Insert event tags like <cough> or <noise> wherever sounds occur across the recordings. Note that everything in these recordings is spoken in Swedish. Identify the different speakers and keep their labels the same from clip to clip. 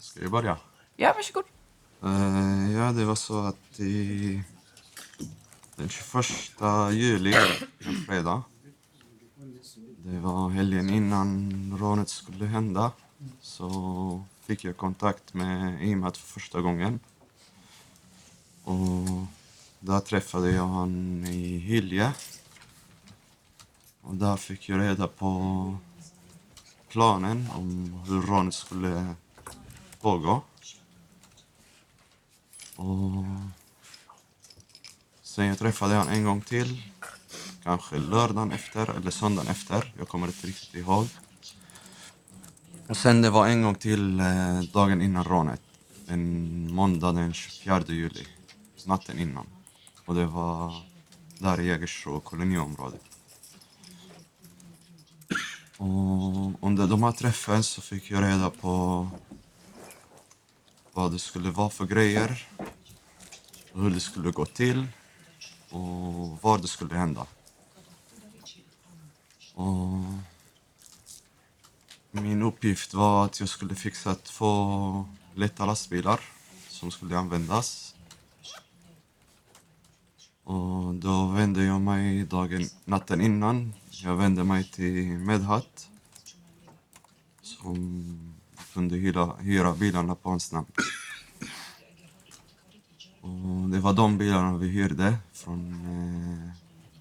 Speaker 1: Ska jag börja?
Speaker 2: Ja, varsågod.
Speaker 1: Eh, ja, det var så att i, den 21 juli, en fredag, det var helgen innan rånet skulle hända, så fick jag kontakt med Imad för första gången. Och där träffade jag han i Hylje. Och där fick jag reda på planen om hur rånet skulle pågå. Och sen jag träffade han en gång till. Kanske lördagen efter eller söndagen efter. Jag kommer inte riktigt ihåg. Och sen det var en gång till eh, dagen innan rånet. En måndag den 24 juli. Natten innan. Och det var där i Jägersro koloniområdet. Och under de här träffen så fick jag reda på vad det skulle vara för grejer, hur det skulle gå till och var det skulle hända. Och min uppgift var att jag skulle fixa två lätta lastbilar som skulle användas. Och då vände jag mig dagen, natten innan. Jag vände mig till Medhat som kunde hyra, hyra bilarna på hans namn. Och det var de bilarna vi hyrde från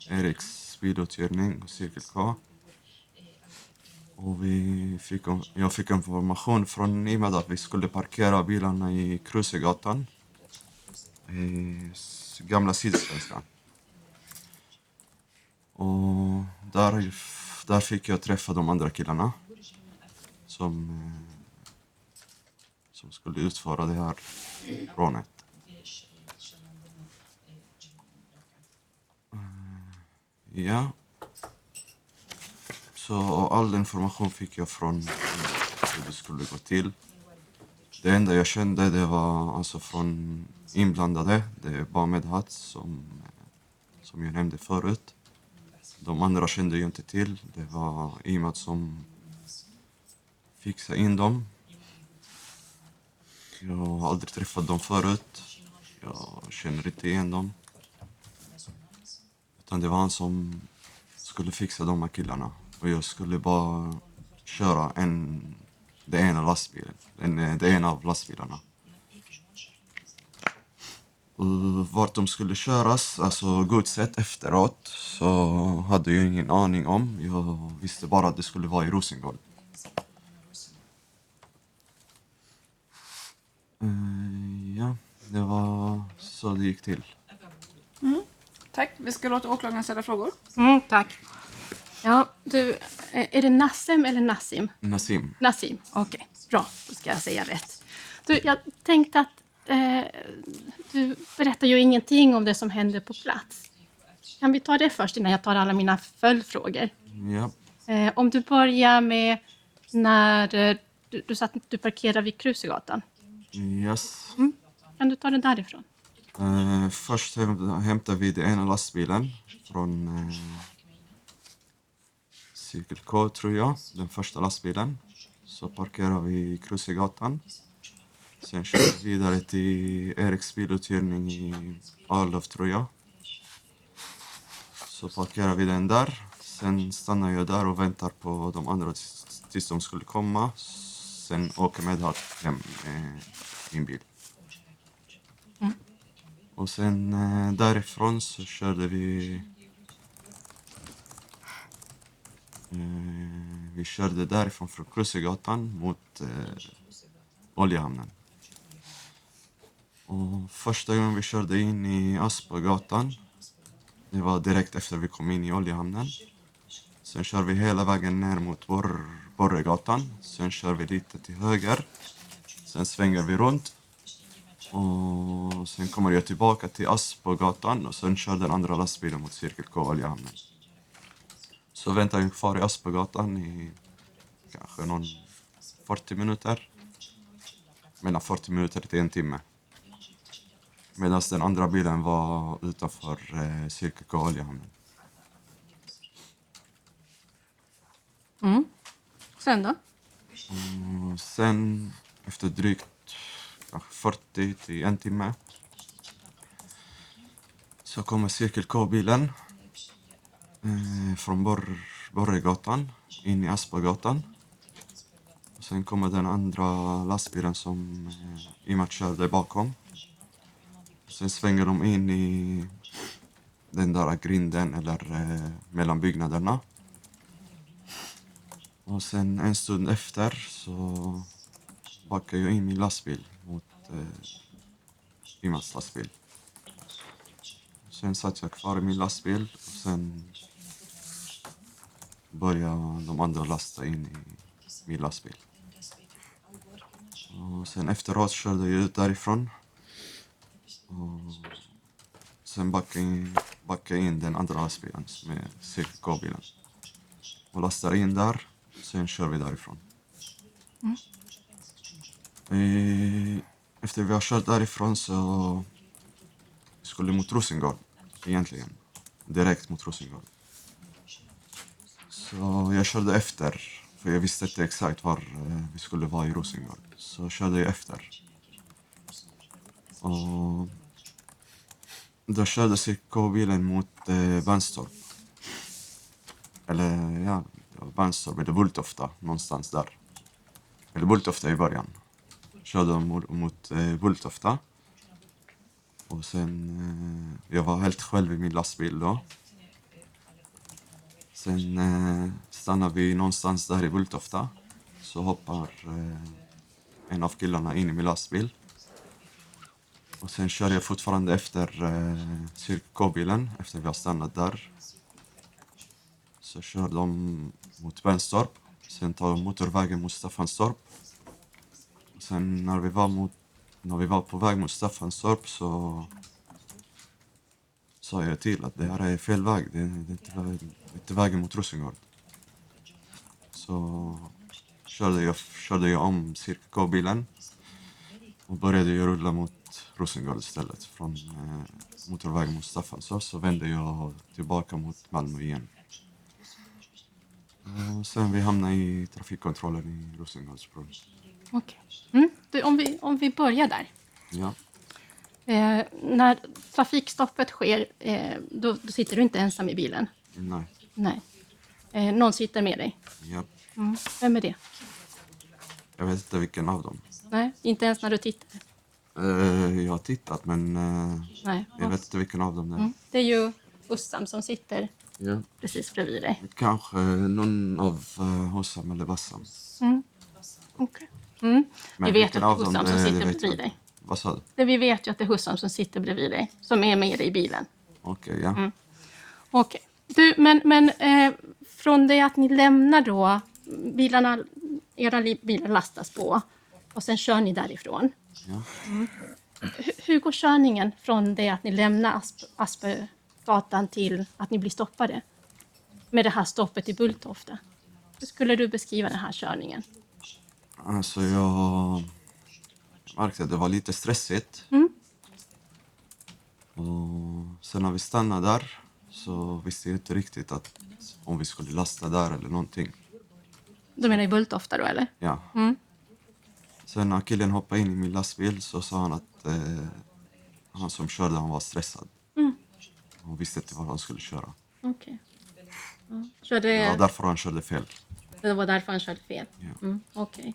Speaker 1: eh, Eriks biluthyrning och Cirkel K. Och vi fick, jag fick information från Imad att vi skulle parkera bilarna i Krusegatan, i s- gamla Sydsvenskan. Och där, f- där fick jag träffa de andra killarna som, eh, som skulle utföra det här rånet. Eh, Ja. Så all information fick jag från hur det skulle gå till. Det enda jag kände det var alltså från inblandade, det är bara Medhat som, som jag nämnde förut. De andra kände jag inte till. Det var Imad som fixa in dem. Jag har aldrig träffat dem förut. Jag känner inte igen dem. Utan det var han som skulle fixa de här killarna. Och jag skulle bara köra en, det ena lastbilen, en, det ena av lastbilarna. Och vart de skulle köras, alltså godset efteråt, så hade jag ingen aning om. Jag visste bara att det skulle vara i Rosengård. Eh, ja, det var så det gick till.
Speaker 2: Tack. Vi ska låta åklagaren ställa frågor.
Speaker 3: Mm, tack. Ja, du, eh, är det Nassem eller Nassim?
Speaker 1: Nassim.
Speaker 3: Nassim, okej. Bra, då ska jag säga rätt. Du, jag tänkte att eh, du berättar ju ingenting om det som hände på plats. Kan vi ta det först innan jag tar alla mina följdfrågor?
Speaker 1: Ja.
Speaker 3: Eh, om du börjar med när eh, du, du satt du parkerade vid Krusegatan.
Speaker 1: Yes.
Speaker 3: Kan du ta den därifrån?
Speaker 1: Eh, först häm- hämtade vi den ena lastbilen från eh, Cirkel K, tror jag. Den första lastbilen. Så parkerade vi i Krusegatan. Sen körde vi vidare till Eriks biluthyrning i Arlöv, tror jag. Så parkerade vi den där. Sen stannade jag där och väntar på de andra tills- tills de skulle komma. Sen åker Medhat hem med min bil. Och sen eh, därifrån så körde vi... Eh, vi körde därifrån från Krusegatan mot eh, Oljehamnen. Och första gången vi körde in i Aspagatan, det var direkt efter vi kom in i Oljehamnen. Sen kör vi hela vägen ner mot Borr- Borregatan, sen kör vi lite till höger. Sen svänger vi runt och sen kommer jag tillbaka till Aspogatan och sen kör den andra lastbilen mot Cirkel K Oljehamnen. Så väntar jag kvar i Aspogatan i kanske någon 40 minuter. Mellan 40 minuter till en timme. Medan den andra bilen var utanför eh, Cirkel K Oljehamnen.
Speaker 3: Sen då?
Speaker 1: Och sen efter drygt kanske 40 till en timme. Så kommer cirkel K-bilen eh, från Borr- Borregatan in i Aspagatan. Och sen kommer den andra lastbilen som eh, Imat körde bakom. Sen svänger de in i den där grinden eller eh, mellan byggnaderna. Och sen en stund efter så backar jag in min lastbil mot eh, Imats lastbil. Sen satt jag kvar i min lastbil och sen började de andra lasta in i min lastbil. Och sen efteråt körde jag ut därifrån. Och sen backade jag in, backade jag in den andra lastbilen med cirkelgåbilen. Och lastar in där, sen kör vi därifrån. Eh, Efter vi har kört därifrån så skulle mot Rosengård egentligen. Direkt mot Rosengård. Så jag körde efter, för jag visste inte exakt var eh, vi skulle vara i Rosengård. Så körde jag efter. Och då körde CK-bilen mot eh, Vanstorp. Eller ja, det var Vanstorp eller Bulltofta, någonstans där. Eller Bulltofta i början. Körde de mot, mot eh, Bulltofta. Och sen, eh, jag var helt själv i min lastbil då. Sen eh, stannar vi någonstans där i Bulltofta. Så hoppar eh, en av killarna in i min lastbil. Och sen kör jag fortfarande efter eh, cirkelbilen efter vi har stannat där. Så kör de mot Benstorp. Sen tar de motorvägen mot Staffanstorp. Sen när vi var, mot, när vi var på väg mot Staffanstorp så sa jag till att det här är fel väg. Det, det, är, inte, vä- det är inte vägen mot Rosengård. Så körde jag, körde jag om cirkelbilen och började jag rulla mot Rosengård istället. Från eh, motorvägen mot Staffanstorp så vände jag tillbaka mot Malmö igen. Och sen vi hamnade i trafikkontrollen i Rosengårdsbron.
Speaker 3: Okej. Mm. Du, om, vi, om vi börjar där.
Speaker 1: Ja.
Speaker 3: Eh, när trafikstoppet sker, eh, då, då sitter du inte ensam i bilen.
Speaker 1: Nej.
Speaker 3: Nej. Eh, någon sitter med dig.
Speaker 1: Ja.
Speaker 3: Mm. Vem är det?
Speaker 1: Jag vet inte vilken av dem.
Speaker 3: Nej, inte ens när du tittar.
Speaker 1: Eh, jag har tittat men eh,
Speaker 3: Nej.
Speaker 1: jag vet inte vilken av dem det är.
Speaker 3: Mm. Det är ju Hussam som sitter
Speaker 1: Ja.
Speaker 3: precis bredvid dig.
Speaker 1: Kanske någon av eh, Hossam eller Bassam.
Speaker 3: Okej. Mm. Vi vet
Speaker 1: vilken
Speaker 3: att det är Hussam som
Speaker 1: det- det
Speaker 3: sitter
Speaker 1: vet jag
Speaker 3: bredvid
Speaker 1: inte.
Speaker 3: dig.
Speaker 1: Vad sa du?
Speaker 3: Det vi vet ju att det är Hussam som sitter bredvid dig, som är med dig i bilen.
Speaker 1: Okej, ja.
Speaker 3: Okej. Du, men, men eh, från det att ni lämnar då, bilarna, era li- bilar lastas på och sen kör ni därifrån.
Speaker 1: ja.
Speaker 3: Hur, hur går körningen från det att ni lämnar Asp, Aspögatan till att ni blir stoppade? Med det här stoppet i Bulltofta. Hur skulle du beskriva den här körningen?
Speaker 1: Alltså jag märkte att det var lite stressigt. Och sen när vi stannade där så visste jag inte riktigt att om vi skulle lasta där eller någonting.
Speaker 3: Du menar i Bulltofta då, eller?
Speaker 1: Ja. Sen när killen hoppade in i min lastbil så sa han att eh, han som körde han var stressad. Han visste inte var han skulle köra.
Speaker 3: Okej. Ja. Körde...
Speaker 1: Det var därför han körde fel.
Speaker 3: Det var därför han körde fel?
Speaker 1: Ja.
Speaker 3: Mm, Okej.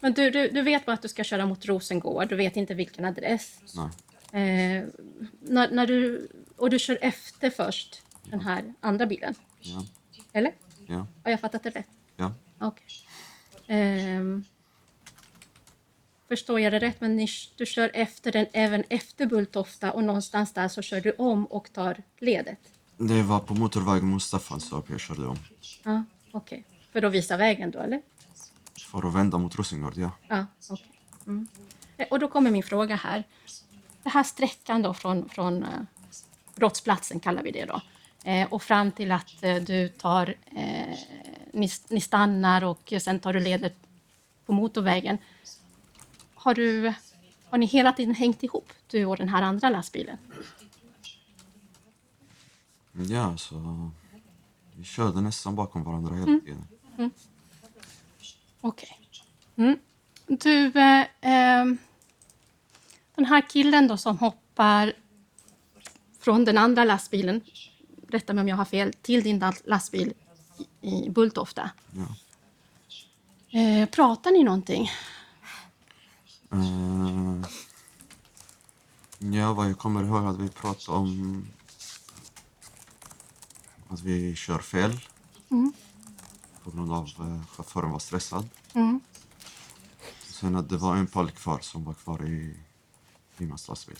Speaker 3: Men du, du, du vet bara att du ska köra mot Rosengård, du vet inte vilken adress.
Speaker 1: Nej.
Speaker 3: Eh, när, när du, och du kör efter först den här andra bilen,
Speaker 1: Ja.
Speaker 3: eller?
Speaker 1: Ja.
Speaker 3: Har jag fattat det rätt?
Speaker 1: Ja.
Speaker 3: Okej. Ehm, förstår jag det rätt, men ni, du kör efter den även efter Bulltofta och någonstans där så kör du om och tar ledet?
Speaker 1: Det var på motorvägen mot Staffanstorp jag körde om.
Speaker 3: Ja, Okej. För att visa vägen då, eller?
Speaker 1: För att vända mot Rosengård, ja.
Speaker 3: Ja, okej. Mm. Eh, Och då kommer min fråga här. Den här sträckan då från, från eh, brottsplatsen, kallar vi det då, eh, och fram till att eh, du tar, eh, ni, ni stannar och sen tar du ledet på motorvägen. Har, du, har ni hela tiden hängt ihop, du och den här andra lastbilen?
Speaker 1: Ja, så... Vi körde nästan bakom varandra hela tiden.
Speaker 3: Okej. Mm. Du, eh, ehm, den här killen då som hoppar från den andra lastbilen, rätta mig om jag har fel, till din la- lastbil i i Bulltofta.
Speaker 1: Ja.
Speaker 3: Eh, pratar ni någonting?
Speaker 1: Eh, ja, vad jag kommer ihåg att vi pratade om att vi kör fel. På grund av uh, chauffören var stressad.
Speaker 3: Mm.
Speaker 1: Sen att det var en pall kvar som var kvar i Imans lastbil.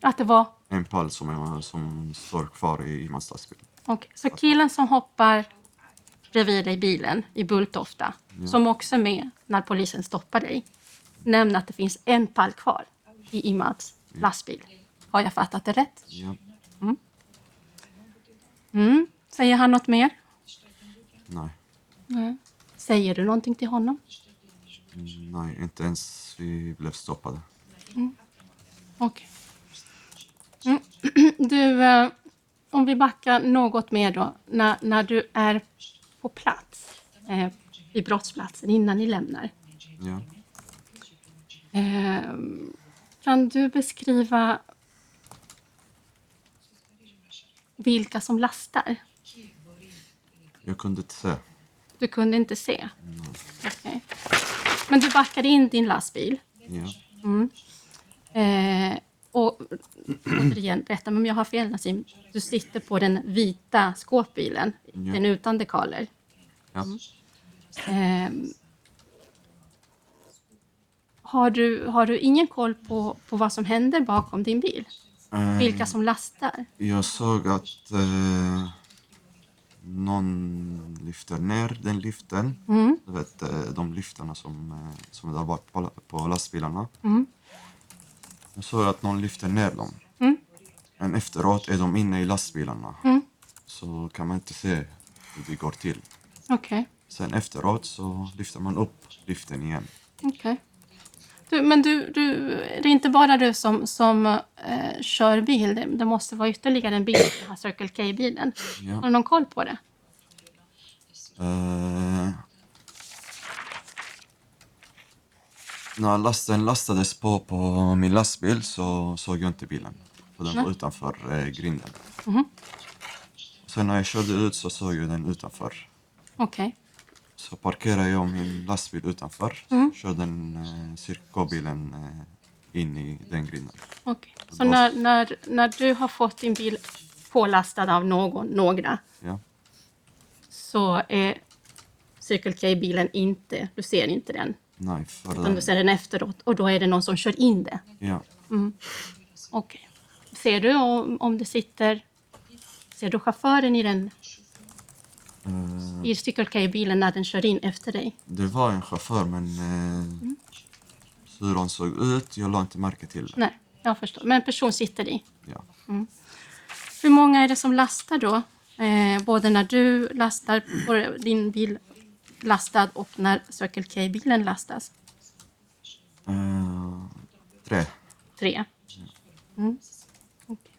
Speaker 3: Att det var...
Speaker 1: En pall som, är, som står kvar i Imans lastbil.
Speaker 3: Och, så killen som hoppar bredvid dig i bilen i Bulltofta, som också är med när polisen stoppar dig, nämner att det finns en pall kvar i Imads lastbil. Har jag fattat det rätt?
Speaker 1: Ja,
Speaker 3: Mm. Säger han något mer?
Speaker 1: nej.
Speaker 3: Säger du någonting till honom?
Speaker 1: Nej, inte ens vi blev stoppade.
Speaker 3: Okej. Mm. <clears throat> Du, eh, om vi backar något mer då. När, när du är på plats, eh, i brottsplatsen, innan ni lämnar.
Speaker 1: Ja.
Speaker 3: Eh, kan du beskriva vilka som lastar?
Speaker 1: Jag kunde inte se.
Speaker 3: Du kunde inte se. Okej. Men du backade in din lastbil.
Speaker 1: Ja.
Speaker 3: Eh, och återigen, rätta mig om jag har fel Nassim. Du sitter på den vita skåpbilen,
Speaker 1: Ja.
Speaker 3: den utan dekaler.
Speaker 1: ja.
Speaker 3: Eh, har, du, har du ingen koll på, på vad som händer bakom din bil?
Speaker 1: Eh,
Speaker 3: Vilka som lastar?
Speaker 1: Jag såg att eh, någon lyfter ner den liften. Du vet, eh, de liftarna som, eh, som är där bak på, la- på lastbilarna. Jag såg att någon lyfter ner dem. Men efteråt är de inne i lastbilarna. Så kan man inte se hur det går till.
Speaker 3: Okej.
Speaker 1: Sen efteråt så lyfter man upp liften igen.
Speaker 3: okej. Du, men du, du, det är inte bara du som, som eh, kör bil. Det, det måste vara ytterligare en bil, den här Circle K-bilen.
Speaker 1: Ja.
Speaker 3: Har du någon koll på det?
Speaker 1: Eh, när lasten lastades på på min lastbil så såg jag inte bilen. För den var utanför eh, grinden. Sen när jag körde ut så såg jag den utanför.
Speaker 3: Okej.
Speaker 1: Så parkerade jag min lastbil utanför. Körde den eh, cirkelbilen eh, in i den grinden.
Speaker 3: Okej. Så när, när, när du har fått din bil pålastad av någon, några,
Speaker 1: Ja.
Speaker 3: så är Circle K-bilen inte, du ser inte den,
Speaker 1: Nej, för
Speaker 3: utan du
Speaker 1: den.
Speaker 3: ser den efteråt och då är det någon som kör in det.
Speaker 1: Ja.
Speaker 3: Okej. Ser du om, om det sitter, ser du chauffören i den,
Speaker 1: Eh,
Speaker 3: i Circle K-bilen när den kör in efter dig?
Speaker 1: det var en chaufför men eh, hur hon såg ut, jag la inte märke till det.
Speaker 3: Nej, jag förstår. Men en person sitter i.
Speaker 1: Ja.
Speaker 3: Hur många är det som lastar då? Eh, både när du lastar, på din bil lastad och när Circle K-bilen lastas?
Speaker 1: Eh, tre.
Speaker 3: Tre. Mm. Okej.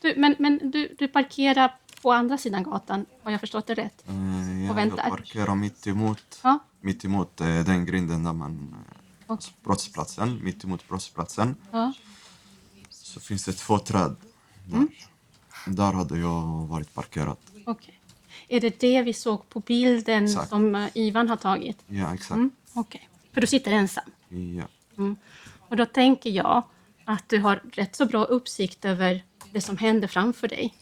Speaker 3: Du, men men du, du parkerar på andra sidan gatan, har jag förstått det rätt?
Speaker 1: Eh,
Speaker 3: Och
Speaker 1: ja, jag
Speaker 3: väntar.
Speaker 1: parkerar mitt emot,
Speaker 3: Ja,
Speaker 1: mitt emot eh, den grinden där man... Eh, alltså brottsplatsen, mitt emot brottsplatsen
Speaker 3: ja.
Speaker 1: så finns det två träd där.
Speaker 3: Mm.
Speaker 1: Där hade jag varit parkerad.
Speaker 3: okej. Är det det vi såg på bilden
Speaker 1: Exakt.
Speaker 3: som eh, Ivan har tagit?
Speaker 1: Ja, exakt.
Speaker 3: Mm. Okej, för du sitter ensam.
Speaker 1: Ja.
Speaker 3: Och då tänker jag att du har rätt så bra uppsikt över det som händer framför dig.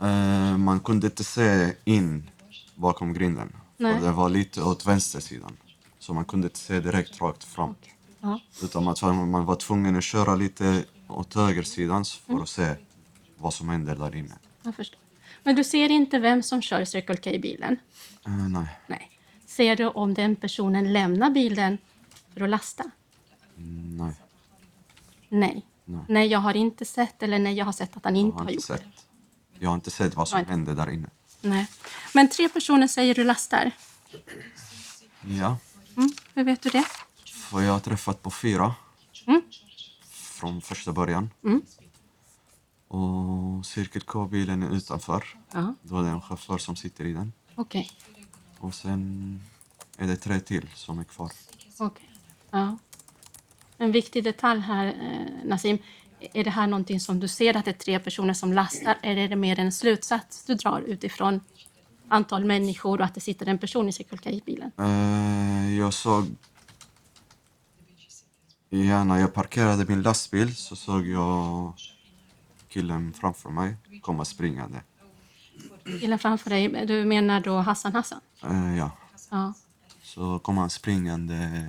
Speaker 1: Eh, man kunde inte se in bakom grinden.
Speaker 3: Nej.
Speaker 1: För det var lite åt vänstersidan. Så man kunde inte se direkt rakt fram.
Speaker 3: Ja.
Speaker 1: Utan man, man var tvungen att köra lite åt högersidan för att se vad som händer där inne.
Speaker 3: Jag förstår. Men du ser inte vem som kör Circle K-bilen?
Speaker 1: Eh, nej.
Speaker 3: Nej. Ser du om den personen lämnar bilen för att lasta?
Speaker 1: Nej,
Speaker 3: Nej.
Speaker 1: Nej.
Speaker 3: jag har inte sett eller nej, jag har sett att han
Speaker 1: jag
Speaker 3: inte
Speaker 1: har
Speaker 3: har
Speaker 1: inte sett.
Speaker 3: gjort det.
Speaker 1: Jag har inte sett vad som
Speaker 3: Nej.
Speaker 1: hände där inne.
Speaker 3: Nej. Men tre personer säger du lastar.
Speaker 1: Ja,
Speaker 3: Mm. Hur vet du det?
Speaker 1: för jag har träffat på fyra.
Speaker 3: Mm.
Speaker 1: Från första början.
Speaker 3: Mm.
Speaker 1: Och Cirkel K-bilen är utanför.
Speaker 3: Ja,
Speaker 1: Då är det en chaufför som sitter i den.
Speaker 3: okej.
Speaker 1: Och sen är det tre till som är kvar.
Speaker 3: okej. Ja. En viktig detalj här, eh, Nassim. Är det här någonting som du ser att det är tre personer som lastar eller är det mer en slutsats du drar utifrån antal människor och att det sitter en person i Circle K i bilen?
Speaker 1: Eh, jag såg... Ja, när jag parkerade min lastbil så såg jag killen framför mig komma springande.
Speaker 3: Killen framför dig, du menar då Hassan Hassan?
Speaker 1: Eh, ja.
Speaker 3: Ja.
Speaker 1: Så kom han springande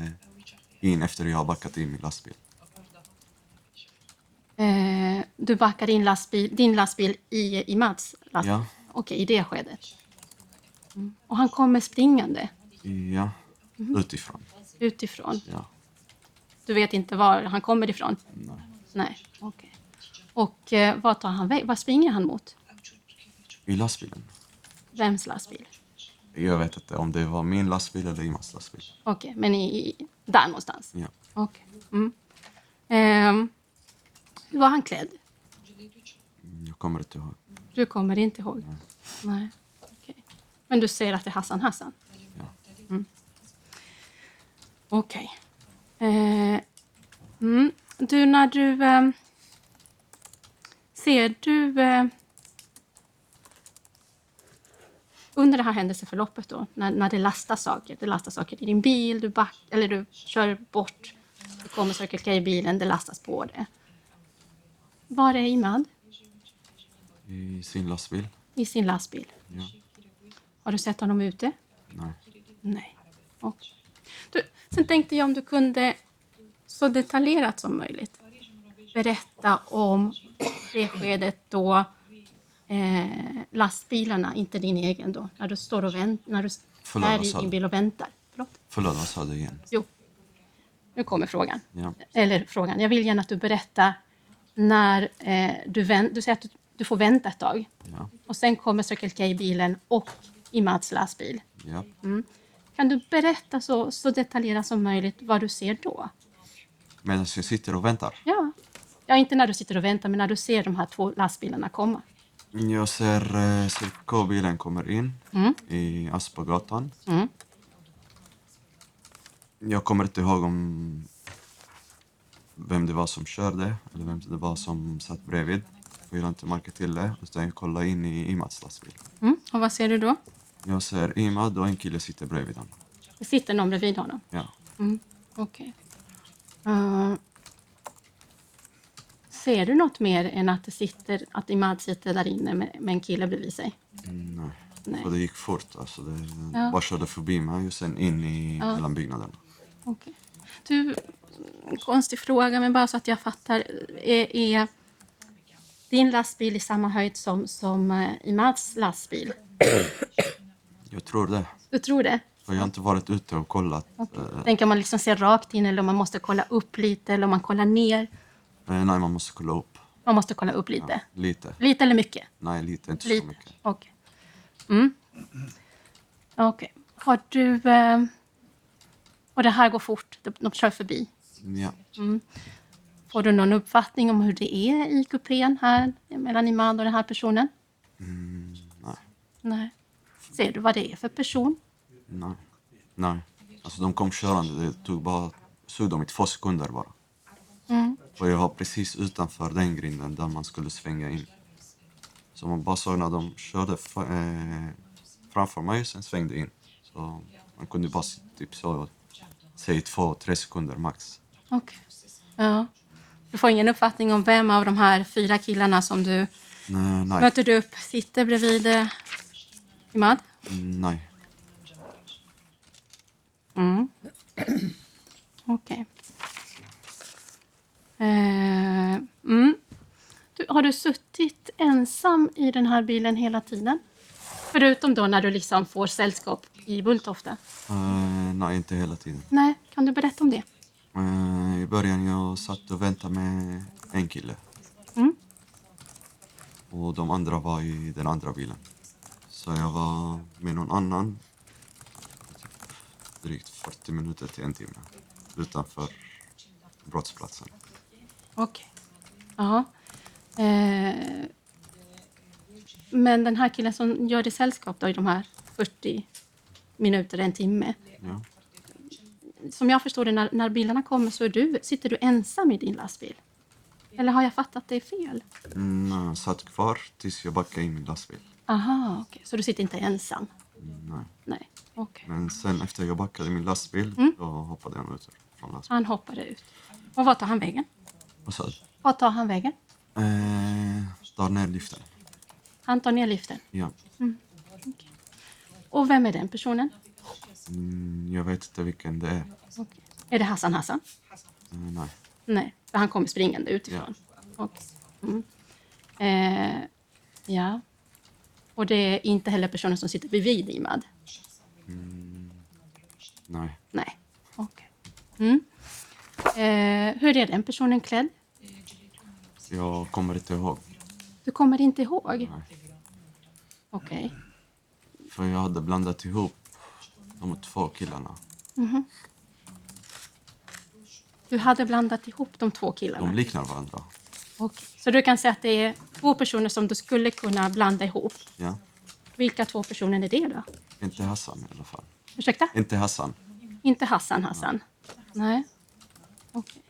Speaker 1: in efter jag backat in min lastbil.
Speaker 3: Eh, du backar din lastbil, din lastbil i, i Mads lastbil?
Speaker 1: Ja.
Speaker 3: Okej, i det skedet. Mm. Och han kommer springande
Speaker 1: Ja, utifrån.
Speaker 3: utifrån.
Speaker 1: Ja.
Speaker 3: Du vet inte var han kommer ifrån?
Speaker 1: Nej.
Speaker 3: Nej, okej. Och eh, vad tar han väg? Vad springer han mot?
Speaker 1: I lastbilen.
Speaker 3: Vems lastbil?
Speaker 1: Jag vet inte om det var min lastbil eller Imans lastbil.
Speaker 3: Okej, men i, i, där någonstans?
Speaker 1: Ja.
Speaker 3: Okej. Mm. Ehm, hur var han klädd?
Speaker 1: Jag kommer inte ihåg.
Speaker 3: Du kommer inte ihåg? Nej. Okej. Men du ser att det är Hassan Hassan?
Speaker 1: Ja.
Speaker 3: Mm. Okej. Eh, mm. Du, när du... ehm, ser du... Eh, under det här händelseförloppet, då, när, när det lastas saker, det lastas saker i din bil, du, back, eller du kör bort, det kommer Circle K i bilen, det lastas på det. Var är Imad
Speaker 1: I sin lastbil?
Speaker 3: i sin lastbil?
Speaker 1: Ja.
Speaker 3: Har du sett honom ute?
Speaker 1: Nej.
Speaker 3: Nej. Och. Du, sen tänkte jag om du kunde så detaljerat som möjligt berätta om det skedet då eh, lastbilarna, inte din egen då, när du står och vänt, när du
Speaker 1: Förlåt,
Speaker 3: är
Speaker 1: vad
Speaker 3: i
Speaker 1: sa
Speaker 3: din
Speaker 1: du?
Speaker 3: bil och väntar. Förlåt.
Speaker 1: Förlåt, vad sa du igen?
Speaker 3: Jo, nu kommer frågan.
Speaker 1: Ja.
Speaker 3: Eller frågan, jag vill gärna att du berättar när eh, du vänt, du säger att du, du får vänta ett tag
Speaker 1: Ja.
Speaker 3: och sen kommer Circle K i bilen och i Mats lastbil.
Speaker 1: Ja.
Speaker 3: Kan du berätta så, så detaljerat som möjligt vad du ser då?
Speaker 1: Medan jag sitter och väntar.
Speaker 3: Ja. ja, inte när du sitter och väntar, men när du ser de här två lastbilarna komma.
Speaker 1: Jag ser eh, CK-bilen kommer in
Speaker 3: Mm.
Speaker 1: i Aspagatan.
Speaker 3: Mm.
Speaker 1: Jag kommer inte ihåg om vem det var som körde eller vem det var som satt bredvid. Jag lade inte märke till det, utan jag kollade in i Imads lastbil.
Speaker 3: Mm. Och vad ser du då?
Speaker 1: Jag ser Imad och en kille sitter bredvid honom.
Speaker 3: Det sitter någon bredvid honom.
Speaker 1: Ja.
Speaker 3: Mm. Okej. Eh, ser du något mer än att, det sitter, att Imad sitter där inne med, med en kille bredvid sig?
Speaker 1: Mm, Nej.
Speaker 3: Nej.
Speaker 1: För det gick fort. Alltså det
Speaker 3: Ja.
Speaker 1: bara körde förbi mig och sen in i
Speaker 3: Ja.
Speaker 1: mellan byggnaderna.
Speaker 3: Okej. Du, konstig fråga, men bara så att jag fattar. Är, är din lastbil i samma höjd som, som eh, Imads lastbil?
Speaker 1: Jag tror det.
Speaker 3: Du tror det?
Speaker 1: För jag har inte varit ute och kollat. eh,
Speaker 3: Den kan man liksom se rakt in eller om man måste kolla upp lite eller om man kollar ner.
Speaker 1: eh, nej, man måste kolla upp.
Speaker 3: Man måste kolla upp lite.
Speaker 1: Lite.
Speaker 3: Lite eller mycket?
Speaker 1: Nej, lite. Inte så
Speaker 3: Lite.
Speaker 1: mycket.
Speaker 3: Okej. Mm. Okej. Har du... eh, Och det här går fort, de de kör förbi.
Speaker 1: Ja.
Speaker 3: Får du någon uppfattning om hur det är i kupén här mellan Imad och den här personen?
Speaker 1: Mm, Nej.
Speaker 3: Nej. Ser du vad det är för person?
Speaker 1: Nej. Nej. Alltså de kom körande. Det tog bara... Såg dem i två sekunder bara.
Speaker 3: Mm.
Speaker 1: Och jag var precis utanför den grinden där man skulle svänga in. Så man bara såg när de körde fra, eh, framför mig och sen svängde in. Så man kunde bara se- typ så, säg två, tre sekunder max.
Speaker 3: Okej. Ja. Du får ingen uppfattning om vem av de här fyra killarna som du
Speaker 1: Nej, nej.
Speaker 3: möter du upp, sitter bredvid eh, Imad?
Speaker 1: Mm, nej.
Speaker 3: Mm. Okej. Eh, mm. Du, har du suttit ensam i den här bilen hela tiden? Förutom då när du liksom får sällskap i Bulltofta?
Speaker 1: Eh, nej, inte hela tiden.
Speaker 3: Nej, kan du berätta om det?
Speaker 1: Eh, I början jag satt och väntade med en kille.
Speaker 3: Mm.
Speaker 1: Och de andra var i den andra bilen. Så jag var med någon annan typ drygt 40 minuter till en timme utanför brottsplatsen.
Speaker 3: Okej. Ja. Eh, men den här killen som gör dig sällskap då i de här 40 minuter, en timme.
Speaker 1: Ja.
Speaker 3: som jag förstår det, när, när bilarna kommer så är du, sitter du ensam i din lastbil. Eller har jag fattat det fel?
Speaker 1: Mm, jag satt kvar tills jag backade in min lastbil.
Speaker 3: Aha, okej. Så du sitter inte ensam?
Speaker 1: Mm, Nej.
Speaker 3: Nej, okej.
Speaker 1: Men sen efter jag backade min lastbil, då hoppade han ut från lastbilen.
Speaker 3: Han hoppade ut. Och vart tar han vägen?
Speaker 1: Vad sa du?
Speaker 3: Vart tar han vägen?
Speaker 1: Eh, Tar ner liften.
Speaker 3: Han tar ner liften.
Speaker 1: Ja.
Speaker 3: Okej. Och vem är den personen?
Speaker 1: Mm, jag vet inte vilken det är.
Speaker 3: Okej. Är det Hassan Hassan?
Speaker 1: Eh, nej.
Speaker 3: Nej, för han kommer springande utifrån. Okej. Mm. Eh, ja. Och det är inte heller personen som sitter bredvid Imad?
Speaker 1: Nej.
Speaker 3: Nej. Okej. Mm. Eh, hur är den personen klädd?
Speaker 1: Jag kommer inte ihåg.
Speaker 3: Du kommer inte ihåg?
Speaker 1: Nej.
Speaker 3: Okej.
Speaker 1: För jag hade blandat ihop de två killarna.
Speaker 3: Du hade blandat ihop de två
Speaker 1: De
Speaker 3: killarna?
Speaker 1: liknar varandra.
Speaker 3: Okej. Så du kan säga att det är två personer som du skulle kunna blanda ihop.
Speaker 1: Ja.
Speaker 3: Vilka två personer är det då?
Speaker 1: Inte Hassan i alla fall.
Speaker 3: Ursäkta?
Speaker 1: Inte Hassan.
Speaker 3: Inte Hassan Hassan? Nej. Okej.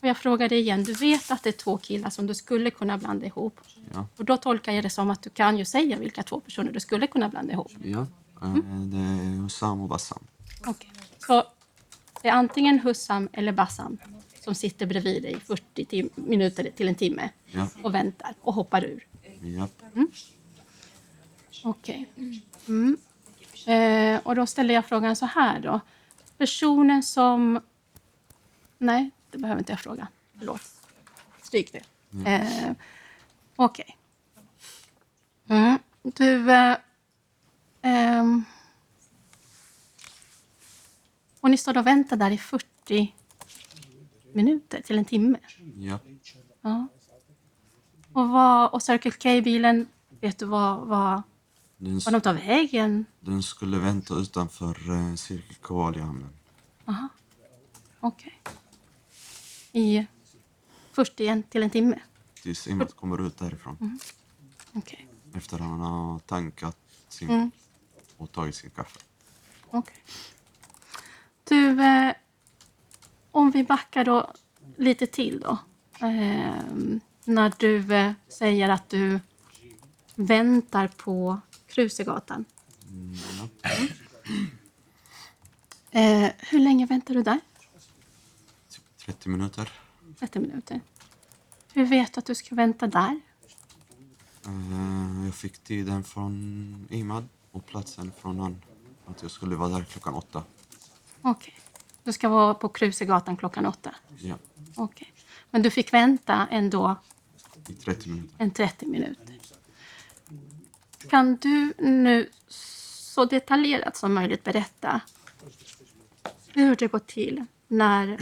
Speaker 3: Och jag frågar dig igen, du vet att det är två killar som du skulle kunna blanda ihop.
Speaker 1: Ja.
Speaker 3: Och då tolkar jag det som att du kan ju säga vilka två personer du skulle kunna blanda ihop.
Speaker 1: ja. Eh, det är Hussam och Bassam.
Speaker 3: Okej. Så det är antingen Hussam eller Bassam som sitter bredvid dig i 40 tim- minuter till en timme
Speaker 1: Ja.
Speaker 3: och väntar och hoppar ur.
Speaker 1: Ja.
Speaker 3: Okej. Mm. Eh, och då ställer jag frågan så här då. Personen som... Nej, det behöver inte jag fråga. Förlåt. Stryk det. Eh, Okej. Mm. Du... Eh, ehm. och ni står då och väntar där i 40 minuter till en timme.
Speaker 1: Ja.
Speaker 3: Ja. Och, vad, och Circle K-bilen, vet du vad, vad,
Speaker 1: Den,
Speaker 3: vad de tar vägen?
Speaker 1: den skulle vänta utanför eh, Cirkel K i hamnen.
Speaker 3: Okej. I 41 till en timme?
Speaker 1: Tills Imad kommer ut därifrån.
Speaker 3: Okej.
Speaker 1: Efter han har tankat sin och tagit sin kaffe.
Speaker 3: Okej. Du, eh, om vi backar då lite till då. Ehm, när du eh, säger att du väntar på Krusegatan. Eh, hur länge väntar du där?
Speaker 1: Typ 30 minuter.
Speaker 3: 30 minuter. Hur vet du att du ska vänta där?
Speaker 1: Eh, jag fick tiden från Imad och platsen från han. Att jag skulle vara där klockan åtta.
Speaker 3: Okej. Du ska vara på Krusegatan klockan åtta.
Speaker 1: Ja,
Speaker 3: Okej. Men du fick vänta ändå
Speaker 1: i 30 minuter.
Speaker 3: en 30 minuter. Kan du nu så detaljerat som möjligt berätta hur det går till när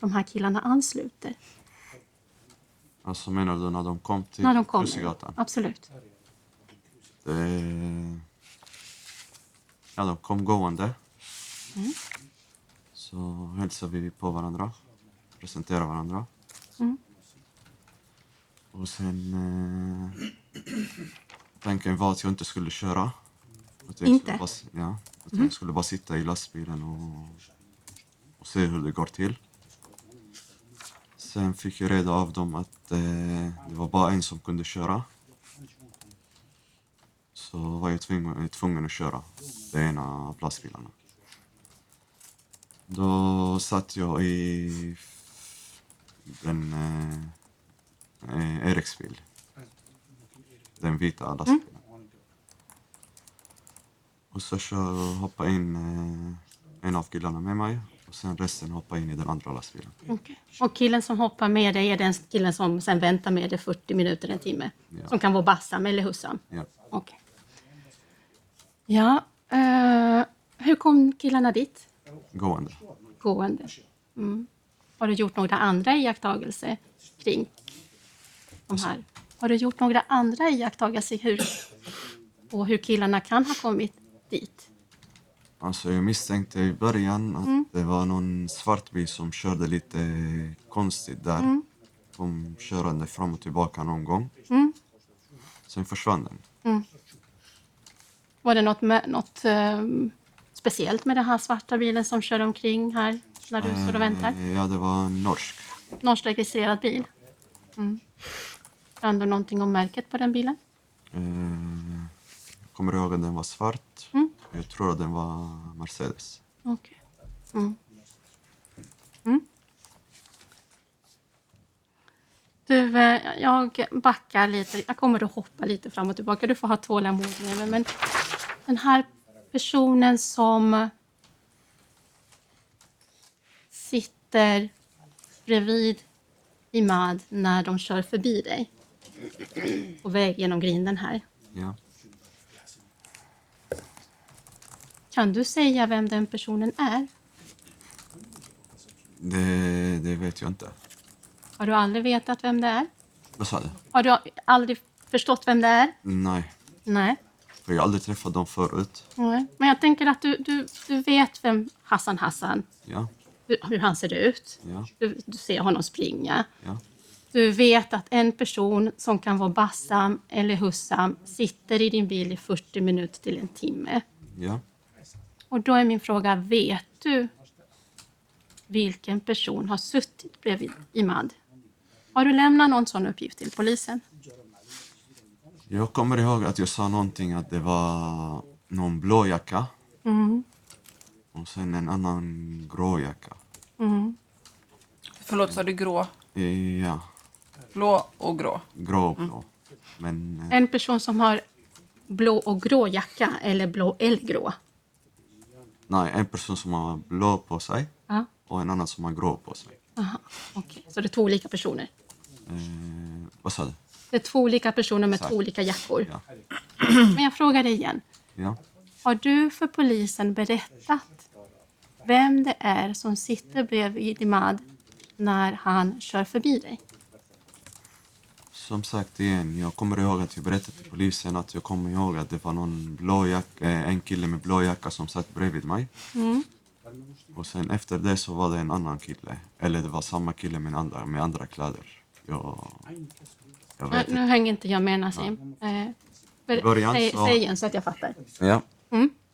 Speaker 3: de här killarna ansluter?
Speaker 1: Alltså menar du när de kom till
Speaker 3: När de kommer?
Speaker 1: Krusegatan?
Speaker 3: Absolut.
Speaker 1: Det- Ja, de kom gående. Så hälsade vi på varandra, presenterade varandra. Och sen... Eh, tanken var att jag inte skulle köra. Att jag
Speaker 3: Inte?
Speaker 1: Skulle bara, s- ja, att jag skulle bara sitta i lastbilen och, och se hur det går till. Sen fick jag reda av dem att eh, det var bara en som kunde köra. Så var jag tvungen, tvungen att köra den ena av lastbilarna. Då satt jag i den eh, eh, Eriks bil. Den vita lastbilen. Och så kör, hoppade in eh, en av killarna med mig och sen resten hoppade in i den andra lastbilen.
Speaker 3: Okej. Och killen som hoppar med dig är den killen som sen väntar med dig 40 minuter, en timme.
Speaker 1: Ja.
Speaker 3: Som kan vara Bassam eller Hussam.
Speaker 1: Ja.
Speaker 3: Okej. Ja, eh, hur kom killarna dit?
Speaker 1: Gående.
Speaker 3: gående. Mm. Har du gjort några andra iakttagelser kring de här? Har du gjort några andra iakttagelser hur, och hur killarna kan ha kommit dit?
Speaker 1: Alltså jag misstänkte i början att det var någon svart bil som körde lite konstigt där. Kom körande fram och tillbaka någon gång. Sen försvann den.
Speaker 3: Var det något, mö- något ehm, speciellt med den här svarta bilen som kör omkring här när du står och väntar?
Speaker 1: Eh, Ja, det var en norsk.
Speaker 3: Norsk registrerad bil? Mm. Kan du någonting om märket på den bilen?
Speaker 1: Eh, Jag kommer ihåg att den var svart.
Speaker 3: Mm.
Speaker 1: Jag tror att den var Mercedes.
Speaker 3: Okej. Mm. Mm. Du, eh, jag backar lite. Jag kommer att hoppa lite fram och tillbaka. Du får ha tålamod med mig. Men den här personen som sitter bredvid Imad när de kör förbi dig på väg genom grinden här.
Speaker 1: Ja.
Speaker 3: Kan du säga vem den personen är?
Speaker 1: Det, det vet jag inte.
Speaker 3: Har du aldrig vetat vem det är?
Speaker 1: Vad sa du?
Speaker 3: Har du aldrig förstått vem det är?
Speaker 1: Nej,
Speaker 3: Nej.
Speaker 1: jag har aldrig träffat dem förut.
Speaker 3: Nej. Men jag tänker att du, du, du vet vem Hassan Hassan,
Speaker 1: Ja,
Speaker 3: hur, hur han ser ut.
Speaker 1: ja,
Speaker 3: Du, du ser honom springa.
Speaker 1: ja.
Speaker 3: Du vet att en person som kan vara Bassam eller Hussam sitter i din bil i 40 minuter till en timme.
Speaker 1: ja.
Speaker 3: Och då är min fråga, vet du vilken person har suttit bredvid Imad? Har du lämnat någon sån uppgift till polisen?
Speaker 1: Jag kommer ihåg att jag sa någonting att det var någon blå jacka
Speaker 3: Mm.
Speaker 1: och sen en annan grå jacka.
Speaker 2: Förlåt, sa du grå?
Speaker 1: Eh, Ja,
Speaker 2: Blå och grå.
Speaker 1: grå och
Speaker 3: Mm.
Speaker 1: blå. Men eh,
Speaker 3: En person som har blå och grå jacka eller blå eller grå.
Speaker 1: nej, en person som har blå på sig
Speaker 3: Ja,
Speaker 1: och en annan som har grå på sig.
Speaker 3: aha, okej. Så det är två olika personer.
Speaker 1: Eh, vad sa du?
Speaker 3: Det är två olika personer med
Speaker 1: Exakt.
Speaker 3: två olika jackor.
Speaker 1: Ja.
Speaker 3: Men jag frågar dig igen.
Speaker 1: Ja.
Speaker 3: Har du för polisen berättat vem det är som sitter bredvid Imad när han kör förbi dig?
Speaker 1: Som sagt igen, jag kommer ihåg att jag berättade till polisen att jag kommer ihåg att det var någon blå jack, eh, en kille med blå jacka som satt bredvid mig. Och sen efter det så var det en annan kille. Eller det var samma kille men andra, med andra kläder. Jag, jag
Speaker 3: Nu,
Speaker 1: vet
Speaker 3: nu
Speaker 1: inte.
Speaker 3: hänger inte jag med Nassim. Eh, ber-
Speaker 1: början
Speaker 3: säg,
Speaker 1: så-
Speaker 3: säg igen så att jag fattar.
Speaker 1: Ja.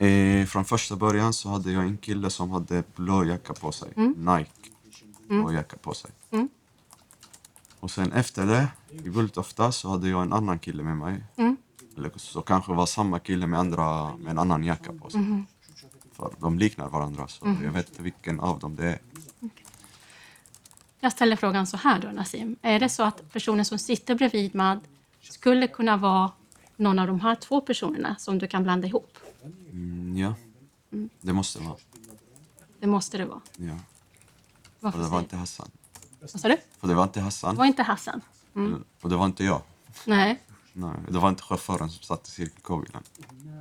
Speaker 1: Eh, från första början så hade jag en kille som hade blå jacka på sig. Nike. Blå jacka på sig. Och sen efter det, i Bulltofta, så hade jag en annan kille med mig. Eller så kanske var samma kille med, andra, med en annan jacka på sig. För de liknar varandra, så jag vet inte vilken av dem det är.
Speaker 3: Jag ställer frågan så här då, Nassim. Är det så att personen som sitter bredvid Mad skulle kunna vara någon av de här två personerna som du kan blanda ihop?
Speaker 1: Mm, ja, det måste vara.
Speaker 3: Det måste det vara.
Speaker 1: Ja. För
Speaker 3: Varför
Speaker 1: det
Speaker 3: säger
Speaker 1: var inte Hassan.
Speaker 3: Vad sa du?
Speaker 1: För det var inte
Speaker 3: Det
Speaker 1: Hassan.
Speaker 3: var inte Hassan?
Speaker 1: Och det var inte jag.
Speaker 3: Nej,
Speaker 1: Nej, det var inte chauffören som satt i Cirkel K-bilen.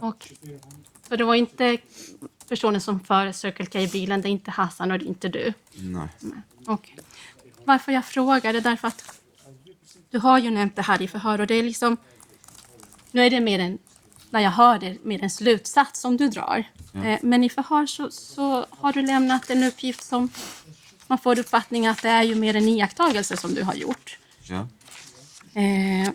Speaker 3: okej. Så det var inte personen som för Circle K-bilen, det är inte Hassan och det är inte du?
Speaker 1: Nej.
Speaker 3: Okej. Varför jag frågar är därför att du har ju nämnt det här i förhör och det är liksom... Nu är det mer en... När jag hör det, mer en slutsats som du drar. Eh, Men i förhör så, så har du lämnat en uppgift som man får uppfattning att det är ju mer en iakttagelse som du har gjort.
Speaker 1: Ja.
Speaker 3: Eh,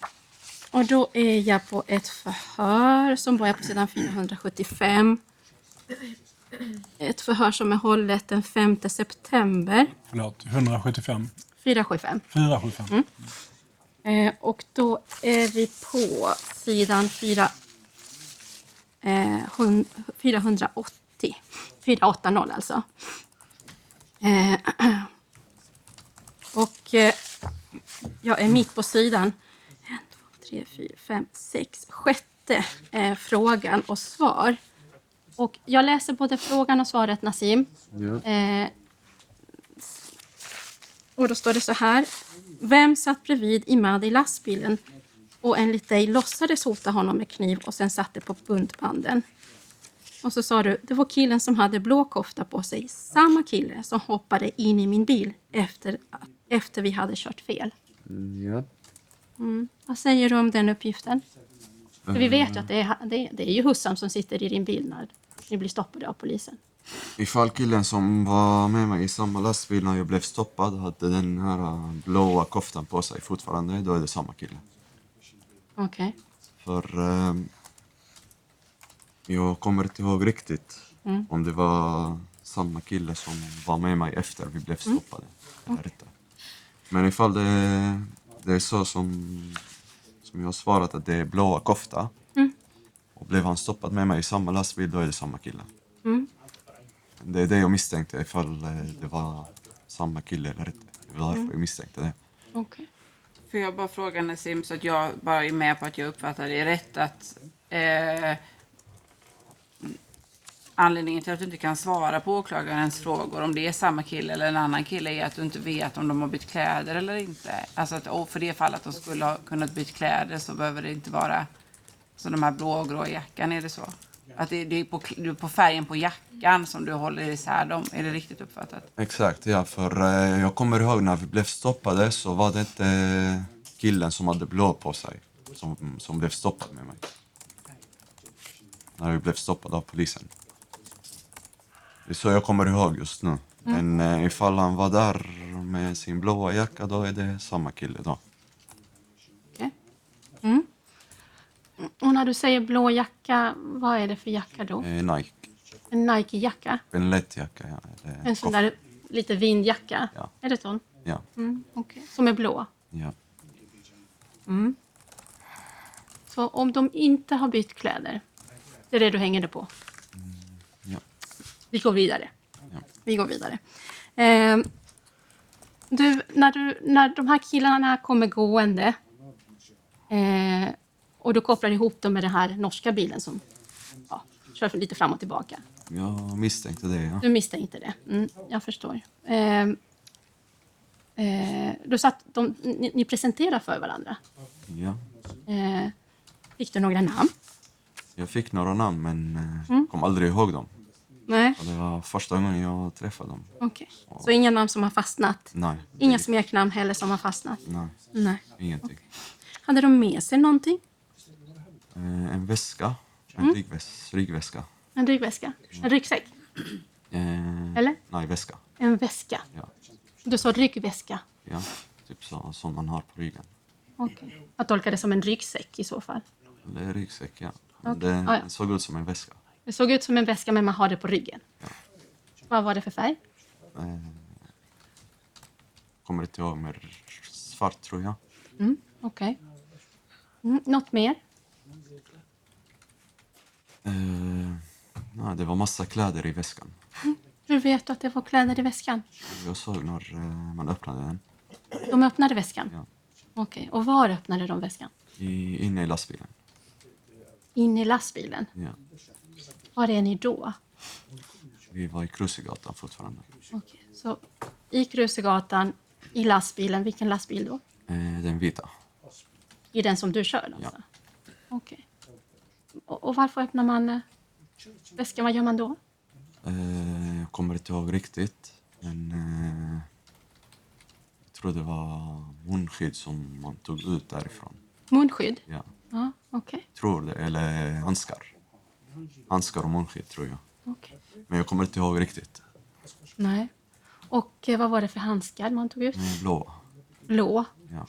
Speaker 3: och då är jag på ett förhör som börjar på sidan 475. Ett förhör som är hållet den 5 september
Speaker 4: Förlåt, 175.
Speaker 3: 475.
Speaker 4: 475.
Speaker 3: Eh, och då är vi på sidan 4, eh, hun- 480. 480 alltså. Eh, <clears throat> och eh, jag är mitt på sidan. En, två, tre, fyra, fem, sex, sjätte eh, frågan och svar. Och jag läser både frågan och svaret, Nassim. Eh, och då står det så här. Vem satt bredvid Imad i lastbilen och enligt dig låtsades hota honom med kniv och sen satte på buntbanden? Och så sa du, det var killen som hade blå kofta på sig. Samma kille som hoppade in i min bil efter, efter vi hade kört fel.
Speaker 1: ja.
Speaker 3: Vad säger du om den uppgiften? För vi vet ju att det är, det, är- det är ju Hussam som sitter i din bil när ni blir stoppade av polisen.
Speaker 1: Ifall killen som var med mig i samma lastbil när jag blev stoppad hade den här äh, blåa koftan på sig fortfarande, då är det samma kille.
Speaker 3: Okej.
Speaker 1: eh, För... ehm, jag kommer inte ihåg riktigt Om det var samma kille som var med mig efter vi blev stoppade. Eller inte. Men ifall det, det är så som, som jag har svarat att det är blåa kofta och blev han stoppad med mig i samma lastbil, då är det samma kille. Det är det jag misstänkte, ifall eh, det var samma kille eller inte. Det var därför jag misstänkte det.
Speaker 3: Okej.
Speaker 2: Får jag bara fråga Nassim så att jag bara är med på att jag uppfattar det rätt att eh, anledningen till att du inte kan svara på åklagarens frågor om det är samma kille eller en annan kille är att du inte vet om de har bytt kläder eller inte. Alltså att och för det fall att de skulle ha kunnat byta kläder så behöver det inte vara som de här blå och grå jackan, är det så? Att det, det, är på, det är på färgen på jackan som du håller isär dem, är det riktigt uppfattat?
Speaker 1: Exakt, ja. För eh, jag kommer ihåg när vi blev stoppade så var det inte killen som hade blå på sig som, som blev stoppad med mig. När vi blev stoppade av polisen. Det är så jag kommer ihåg just nu.
Speaker 3: Mm.
Speaker 1: Men eh, ifall han var där med sin blåa jacka då är det samma kille då.
Speaker 2: Okej.
Speaker 3: Och när du säger blå jacka, vad är det för jacka då?
Speaker 1: Eh, Nike.
Speaker 3: En Nike-jacka?
Speaker 1: En lätt jacka, ja. Eller
Speaker 3: En sån
Speaker 1: kofta.
Speaker 3: där lite vindjacka?
Speaker 1: Ja.
Speaker 3: Är det sån?
Speaker 1: Ja,
Speaker 3: Mm, okej. Som är blå?
Speaker 1: ja.
Speaker 3: Så om de inte har bytt kläder, det är det du hänger det på?
Speaker 1: ja.
Speaker 3: Vi går vidare.
Speaker 1: Ja.
Speaker 3: Vi går vidare. Ehm, du, när, du, när de här killarna kommer gående eh, och du kopplar ihop dem med den här norska bilen som ja, kör lite fram och tillbaka.
Speaker 1: Jag misstänkte det, ja.
Speaker 3: Du misstänkte det. Mm, jag förstår. Ehm, eh, du satt, de, ni, ni presenterade för varandra.
Speaker 1: ja.
Speaker 3: Eh, fick du några namn?
Speaker 1: Jag fick några namn men eh,
Speaker 3: Mm.
Speaker 1: kom aldrig ihåg dem.
Speaker 3: Nej.
Speaker 1: Och det var första gången jag träffade dem.
Speaker 3: Okej. Så inga namn som har fastnat?
Speaker 1: Nej.
Speaker 3: Inga smeknamn heller som har fastnat?
Speaker 1: Nej,
Speaker 3: Nej.
Speaker 1: ingenting.
Speaker 3: Hade de med sig någonting?
Speaker 1: Eh, en väska. En
Speaker 3: Mm.
Speaker 1: ryggväs- ryggväska.
Speaker 3: En ryggväska? En ryggsäck?
Speaker 1: Eh,
Speaker 3: Eller?
Speaker 1: Nej, väska.
Speaker 3: En väska?
Speaker 1: Ja.
Speaker 3: Du sa ryggväska.
Speaker 1: ja. Typ så, som man har på ryggen.
Speaker 3: Okej. Jag tolkar det som en ryggsäck i så fall.
Speaker 1: Eller ryggsäck, ja.
Speaker 3: Okej.
Speaker 1: Men Det
Speaker 3: Ah, ja.
Speaker 1: såg ut som en väska.
Speaker 3: Det såg ut som en väska men man har det på ryggen. Vad var det för färg?
Speaker 1: Eh, kommer inte ihåg, men svart tror jag.
Speaker 3: Mm. Okej. Mm. Något mer?
Speaker 1: Eh, nej, det var massa kläder i väskan.
Speaker 3: Hur vet du att det var kläder i väskan?
Speaker 1: Jag såg när eh, man öppnade den.
Speaker 3: De öppnade väskan?
Speaker 1: Ja.
Speaker 3: Okej. Och var öppnade de väskan?
Speaker 1: I, inne i lastbilen.
Speaker 3: In i lastbilen.
Speaker 1: Ja.
Speaker 3: Var är ni då?
Speaker 1: Vi var i Krusegatan fortfarande.
Speaker 3: Okej. Så i Krusegatan, i lastbilen. Vilken lastbil då?
Speaker 1: Eh, den vita.
Speaker 3: I den som du kör? Alltså.
Speaker 1: Ja.
Speaker 3: Okej. Och, och varför öppnar man eh, väskan? Vad gör man då?
Speaker 1: Eh, jag kommer inte ihåg riktigt. Men eh, jag tror det var munskydd som man tog ut därifrån.
Speaker 3: Munskydd?
Speaker 1: Ja,
Speaker 3: Ja, okej.
Speaker 1: tror det. Eller handskar. Handskar och munskydd tror jag.
Speaker 3: okej.
Speaker 1: Men jag kommer inte ihåg riktigt.
Speaker 3: Nej. Och eh, vad var det för handskar man tog ut?
Speaker 1: Eh, Blå.
Speaker 3: Blå.
Speaker 1: Ja.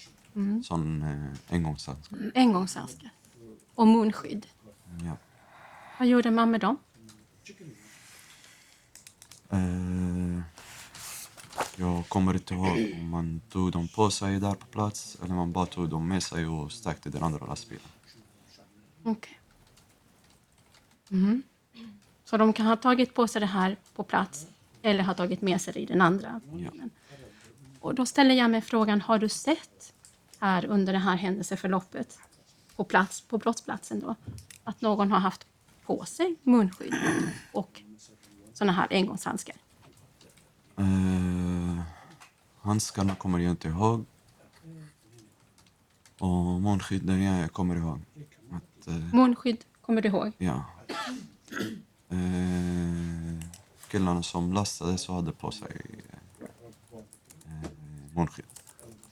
Speaker 1: Sån eh, engångshandskar.
Speaker 3: Engångshandskar. Och munskydd.
Speaker 1: Ja.
Speaker 3: Vad gjorde man med dem?
Speaker 1: Eh, jag kommer inte ihåg om man tog dem på sig där på plats eller man bara tog dem med sig och stack till den andra lastbilen.
Speaker 3: Okej. Mhm. Så de kan ha tagit på sig det här på plats eller ha tagit med sig det i den andra.
Speaker 1: Ja.
Speaker 3: Och då ställer jag mig frågan, har du sett här under det här händelseförloppet på, plats, på brottsplatsen då, att någon har haft på sig munskydd och sådana här engångshandskar?
Speaker 1: Eh, handskarna kommer jag inte ihåg. Och munskydden, ja, jag kommer ihåg. Att, eh,
Speaker 3: Munskydd kommer du ihåg?
Speaker 1: ja. Eh, killarna som lastade så hade på sig eh, eh, munskydd.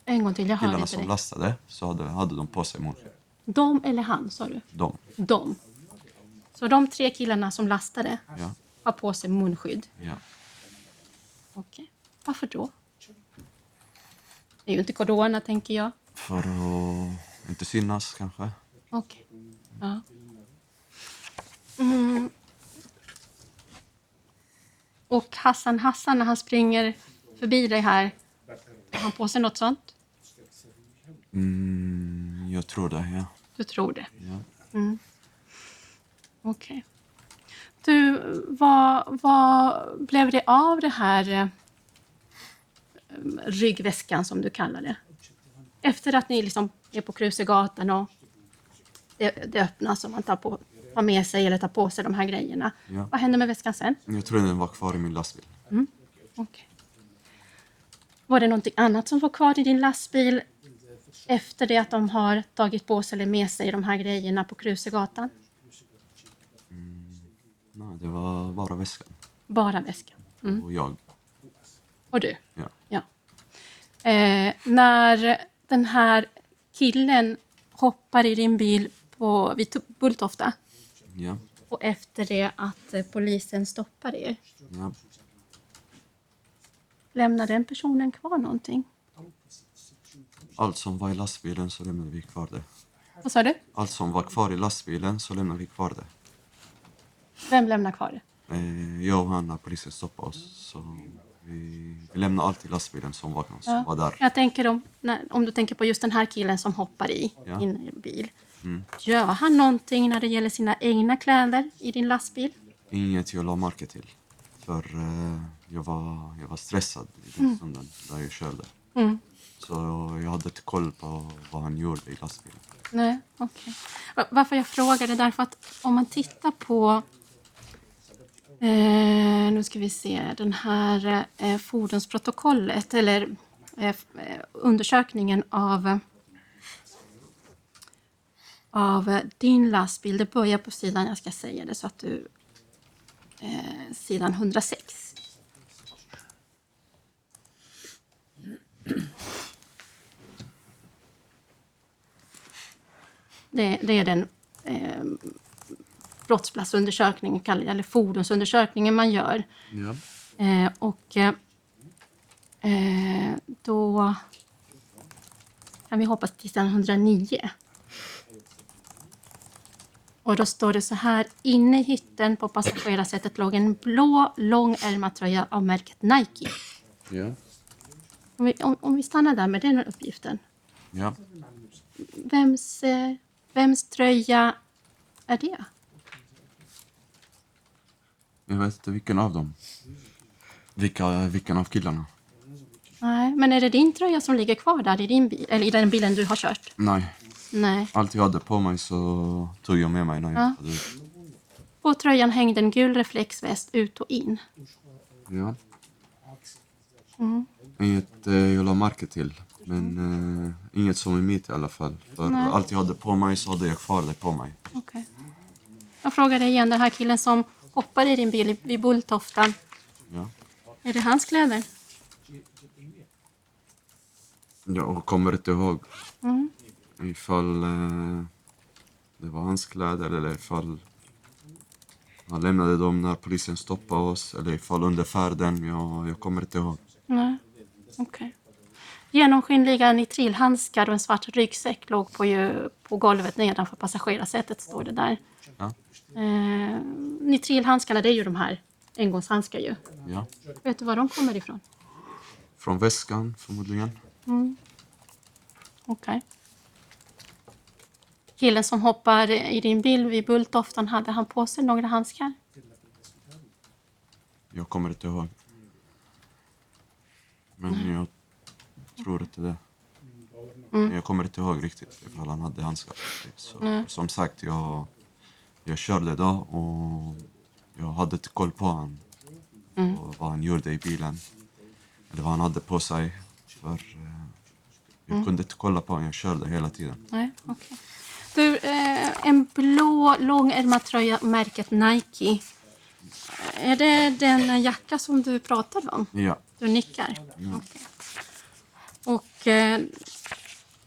Speaker 3: En gång till, jag hörde
Speaker 1: Killarna
Speaker 3: inte
Speaker 1: som
Speaker 3: dig.
Speaker 1: lastade så hade, hade de på sig munskydd.
Speaker 3: De eller han, sa du?
Speaker 1: De,
Speaker 3: De. Så de tre killarna som lastade
Speaker 1: ja.
Speaker 3: har på sig munskydd?
Speaker 1: ja.
Speaker 3: Okej. Varför då? Det är ju inte corona, tänker jag.
Speaker 1: För att inte synas kanske.
Speaker 3: Okej. Ja. Mm. Och Hassan Hassan, när han springer förbi dig här, har han på sig något sånt?
Speaker 1: Mm, jag tror det, ja.
Speaker 3: Du tror det? Mm.
Speaker 1: ja.
Speaker 3: Okej. Du, vad, vad blev det av det här eh, ryggväskan som du kallar det? Efter att ni liksom är på Krusegatan och det, det öppnas och man tar, på, tar med sig eller tar på sig de här grejerna.
Speaker 1: Ja.
Speaker 3: Vad händer med väskan sen?
Speaker 1: Jag tror den var kvar i min lastbil.
Speaker 3: Okej. Var det någonting annat som var kvar i din lastbil efter det att de har tagit på sig eller med sig de här grejerna på Krusegatan?
Speaker 1: Nej, det var bara väskan
Speaker 3: Bara väskan.
Speaker 1: och jag.
Speaker 3: Och du?
Speaker 1: Ja.
Speaker 3: Ja. Eh, när den här killen hoppar i din bil på, vid Tu- Bulltofta
Speaker 1: Ja.
Speaker 3: och efter det att eh, polisen stoppar er,
Speaker 1: ja.
Speaker 3: lämnar den personen kvar någonting?
Speaker 1: Allt som var i lastbilen så lämnade vi kvar det.
Speaker 3: Vad sa du?
Speaker 1: Allt som var kvar i lastbilen så lämnade vi kvar det.
Speaker 3: Vem lämnar kvar det?
Speaker 1: Eh, jag och han när polisen stoppade oss så vi, vi lämnade allt i lastbilen som var, som
Speaker 3: Ja.
Speaker 1: var där.
Speaker 3: Jag tänker om, när, om du tänker på just den här killen som hoppar i
Speaker 1: Ja.
Speaker 3: din bil. Gör han någonting när det gäller sina egna kläder i din lastbil?
Speaker 1: Inget jag la märke till. För eh, jag, var, jag var stressad i den stunden där jag körde. Så jag hade inte koll på vad han gjorde i lastbilen.
Speaker 3: Nej, okej. Va- Varför jag frågar är därför att om man tittar på eh, nu ska vi se, den här eh, fordonsprotokollet eller eh, f- eh, undersökningen av eh, av eh, din lastbil. Det börjar på sidan, jag ska säga det så att du eh, sidan 106. Det, det är den eh, brottsplatsundersökningen, kallar- eller fordonsundersökningen man gör.
Speaker 1: Ja.
Speaker 3: Eh, och eh, eh, då kan vi hoppas till sidan 109. Och då står det så här. Inne i hytten på passagerarsätet låg en blå långärmad tröja av märket Nike.
Speaker 1: Ja.
Speaker 3: Om vi, om, om vi stannar där med den uppgiften.
Speaker 1: ja.
Speaker 3: Vems, eh, vems tröja är det?
Speaker 1: Jag vet inte vilken av dem. Vilka, vilken av killarna?
Speaker 3: Nej, men är det din tröja som ligger kvar där i din bil, eller i den bilen du har kört?
Speaker 1: Nej,
Speaker 3: Nej.
Speaker 1: allt jag hade på mig så tog jag med mig när jag
Speaker 3: Ja.
Speaker 1: hade ut.
Speaker 3: På tröjan hängde en gul reflexväst ut och in.
Speaker 1: Ja.
Speaker 3: Mm.
Speaker 1: Inget eh, jag la märke till. Men eh, inget som är mitt i alla fall. För
Speaker 3: Nej.
Speaker 1: allt jag hade på mig så hade jag kvar det på mig.
Speaker 3: Okej. Jag frågar dig igen, den här killen som hoppar i din bil vid Bulltofta,
Speaker 1: Ja.
Speaker 3: är det hans kläder?
Speaker 1: Jag kommer inte ihåg
Speaker 3: Mm.
Speaker 1: ifall eh, det var hans kläder eller ifall han lämnade dem när polisen stoppade oss eller ifall under färden. Jag, jag kommer inte ihåg.
Speaker 3: Nej. Okej. Genomskinliga nitrilhandskar och en svart ryggsäck låg på, ju, på golvet nedanför passagerarsätet, står det där.
Speaker 1: Ja.
Speaker 3: Eh, nitrilhandskarna, det är ju de här engångshandskar ju.
Speaker 1: Ja.
Speaker 3: Vet du var de kommer ifrån?
Speaker 1: Från väskan förmodligen.
Speaker 3: Okej. Killen som hoppar i din bil vid Bulltoftan, hade han på sig några handskar?
Speaker 1: Jag kommer inte ihåg. Men jag tror inte det. Jag kommer inte ihåg riktigt ifall han hade handskar. Så, Som sagt, jag, jag körde då och jag hade inte koll på han. Och vad han gjorde i bilen. Eller vad han hade på sig. För eh, jag kunde inte kolla på honom, jag körde hela tiden.
Speaker 3: Nej, okej. Du, eh, en blå långärmad tröja märket Nike. Är det den jacka som du pratade om?
Speaker 1: Ja,
Speaker 3: Du nickar? Okej. Och eh,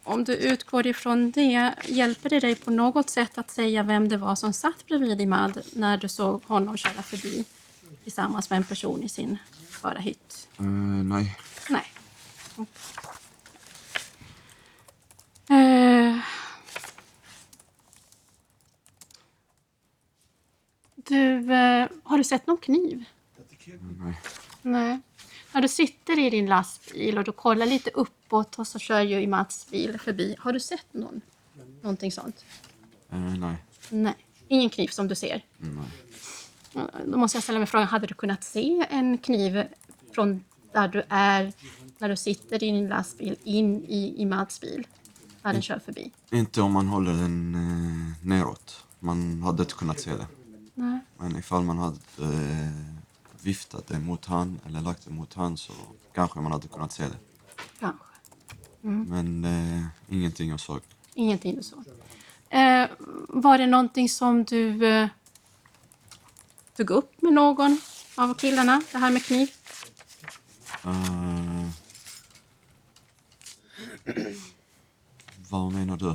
Speaker 3: om du utgår ifrån det, hjälper det dig på något sätt att säga vem det var som satt bredvid Imad när du såg honom köra förbi tillsammans med en person i sin förarhytt?
Speaker 1: eh, nej.
Speaker 3: Nej. Eh. Du, eh, har du sett någon kniv?
Speaker 1: Nej.
Speaker 3: Nej. När du sitter i din lastbil och du kollar lite uppåt och så kör ju Mats bil förbi. Har du sett någon? Någonting sånt?
Speaker 1: Eh, nej.
Speaker 3: Nej. Ingen kniv som du ser?
Speaker 1: Nej.
Speaker 3: Då måste jag ställa mig frågan, hade du kunnat se en kniv från där du är när du sitter i din lastbil in i Imads bil när den kör förbi?
Speaker 1: Inte om man håller den eh, neråt. Man hade inte kunnat se det.
Speaker 3: Nej.
Speaker 1: Men ifall man hade eh, viftat det mot han eller lagt det mot han så kanske man hade kunnat se det.
Speaker 3: Kanske.
Speaker 1: Men eh, ingenting jag såg.
Speaker 3: Ingenting du såg. Eh, var det någonting som du eh, tog upp med någon av killarna, det här med kniv?
Speaker 1: Eh, vad menar du?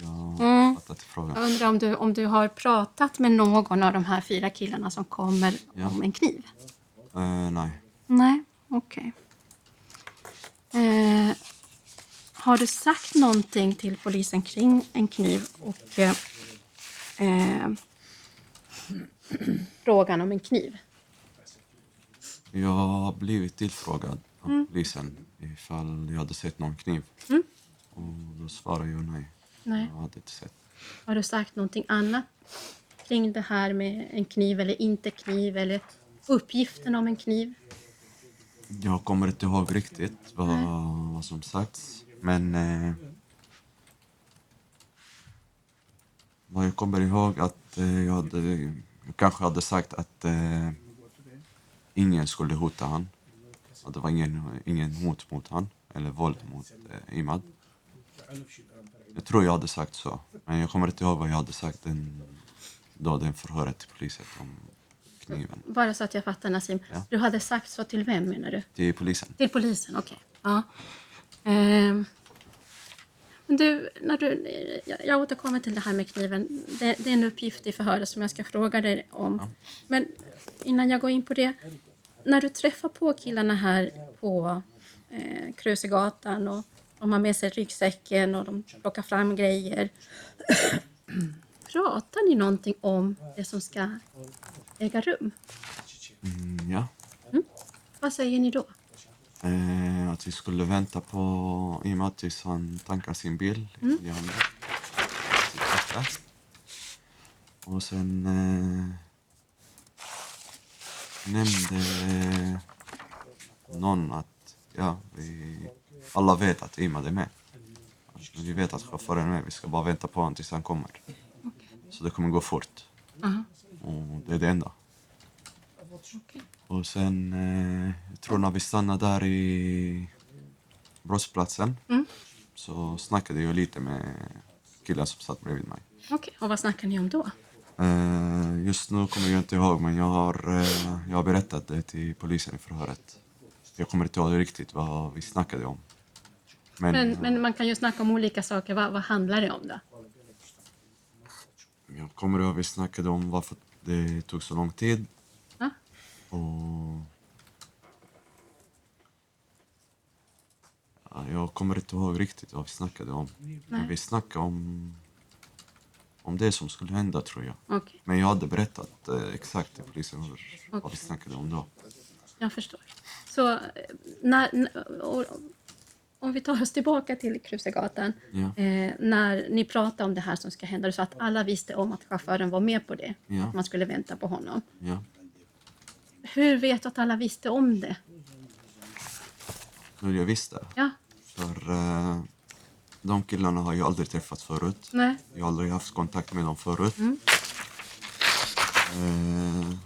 Speaker 1: Jag har fattat frågan.
Speaker 3: Jag undrar om du, om du har pratat med någon av de här fyra killarna som kommer
Speaker 1: Ja.
Speaker 3: om en kniv?
Speaker 1: Eh, nej.
Speaker 3: Nej, okej. Eh, har du sagt någonting till polisen kring en kniv och eh, <clears throat> eh, frågan om en kniv?
Speaker 1: Jag har blivit tillfrågad av polisen ifall jag hade sett någon kniv. Och då svarade jag nej.
Speaker 3: Nej.
Speaker 1: Jag hade inte sett.
Speaker 3: Har du sagt någonting annat kring det här med en kniv eller inte kniv eller uppgiften om en kniv?
Speaker 1: Jag kommer inte ihåg riktigt vad, vad som sagts, men... Eh, vad jag kommer ihåg att eh, jag, hade, jag kanske hade sagt att eh, ingen skulle hota han. Att det var ingen, ingen hot mot han, eller våld mot eh, Imad. Jag tror jag hade sagt så, men jag kommer inte ihåg vad jag hade sagt den, då den förhöret till polisen om kniven.
Speaker 3: Bara så att jag fattar Nassim.
Speaker 1: Ja.
Speaker 3: Du hade sagt så till vem menar du?
Speaker 1: Till polisen.
Speaker 3: Till polisen, okej. Ja. Ehm. Men du, när du, jag, jag återkommer till det här med kniven. Det, det är en uppgift i förhöret som jag ska fråga dig om. Men innan jag går in på det. När du träffar på killarna här på eh, Krusegatan och de har med sig ryggsäcken och de plockar fram grejer. <clears throat> Pratar ni någonting om det som ska äga rum?
Speaker 1: Mm, ja.
Speaker 3: Vad säger ni då?
Speaker 1: Eh, att vi skulle vänta på Imad tills han tankar sin bil. Mm. Sitt kaffe. Och sen eh, nämnde eh, någon att ja, vi alla vet att Imad är med. Att Vi vet att chauffören är med, vi ska bara vänta på honom tills han kommer. Så det kommer gå fort.
Speaker 3: Aha.
Speaker 1: Och det är det enda. Och sen, eh, jag tror när vi stannade där i brottsplatsen så snackade jag lite med killen som satt bredvid mig.
Speaker 3: Okej, och vad snackar ni om då?
Speaker 1: Eh, just nu kommer jag inte ihåg, men jag har, eh, jag har berättat det till polisen i förhöret. Jag kommer inte ihåg riktigt vad vi snackade om. Men,
Speaker 3: Men, men man kan ju snacka om olika saker. Vad, vad handlar det om då?
Speaker 1: jag kommer ihåg att vi snackade om varför det tog så lång tid.
Speaker 3: Ja?
Speaker 1: Och... Ja, jag kommer inte ihåg riktigt vad vi snackade om. Men vi snackade om, om det som skulle hända, tror jag.
Speaker 3: Okej,
Speaker 1: Men jag hade berättat eh, exakt till polisen vad, vad vi
Speaker 3: Okej.
Speaker 1: snackade om då.
Speaker 3: jag förstår. Så eh, när, när- och, om vi tar oss tillbaka till Krusegatan.
Speaker 1: Ja.
Speaker 3: Eh, när ni pratade om det här som ska hända, du sa att alla visste om att chauffören var med på det.
Speaker 1: Ja.
Speaker 3: Att man skulle vänta på honom.
Speaker 1: Ja.
Speaker 3: Hur vet du att alla visste om det?
Speaker 1: Men jag visste.
Speaker 3: Ja,
Speaker 1: För eh, de killarna har jag aldrig träffat förut.
Speaker 3: nej,
Speaker 1: Jag har aldrig haft kontakt med dem förut. Eh,